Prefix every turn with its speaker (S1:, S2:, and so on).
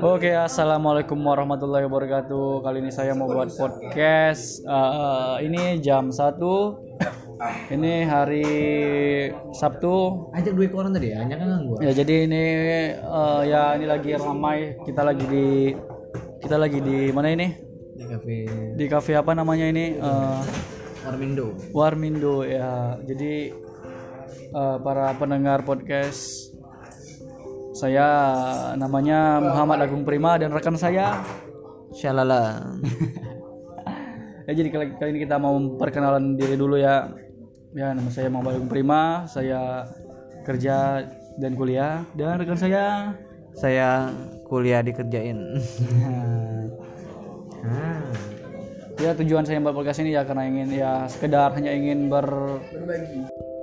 S1: Oke, assalamualaikum warahmatullahi wabarakatuh. Kali ini saya mau buat podcast. Eh, ini jam 1 Ini hari Sabtu.
S2: Ajak duit ke orang tadi ya, ajak kan gua.
S1: Ya jadi ini eh, ya ini lagi ramai. Kita lagi di kita lagi di mana ini?
S2: Di kafe
S1: Di kafe apa namanya ini? Eh,
S2: Warmindo.
S1: Warmindo ya. Jadi eh, para pendengar podcast saya namanya Muhammad Agung Prima dan rekan saya
S2: Shalala.
S1: ya jadi kali, kali ini kita mau perkenalan diri dulu ya ya nama saya Muhammad Agung Prima saya kerja dan kuliah dan rekan saya
S2: Saya kuliah dikerjain.
S1: ya tujuan saya buat podcast ini ya karena ingin ya sekedar hanya ingin ber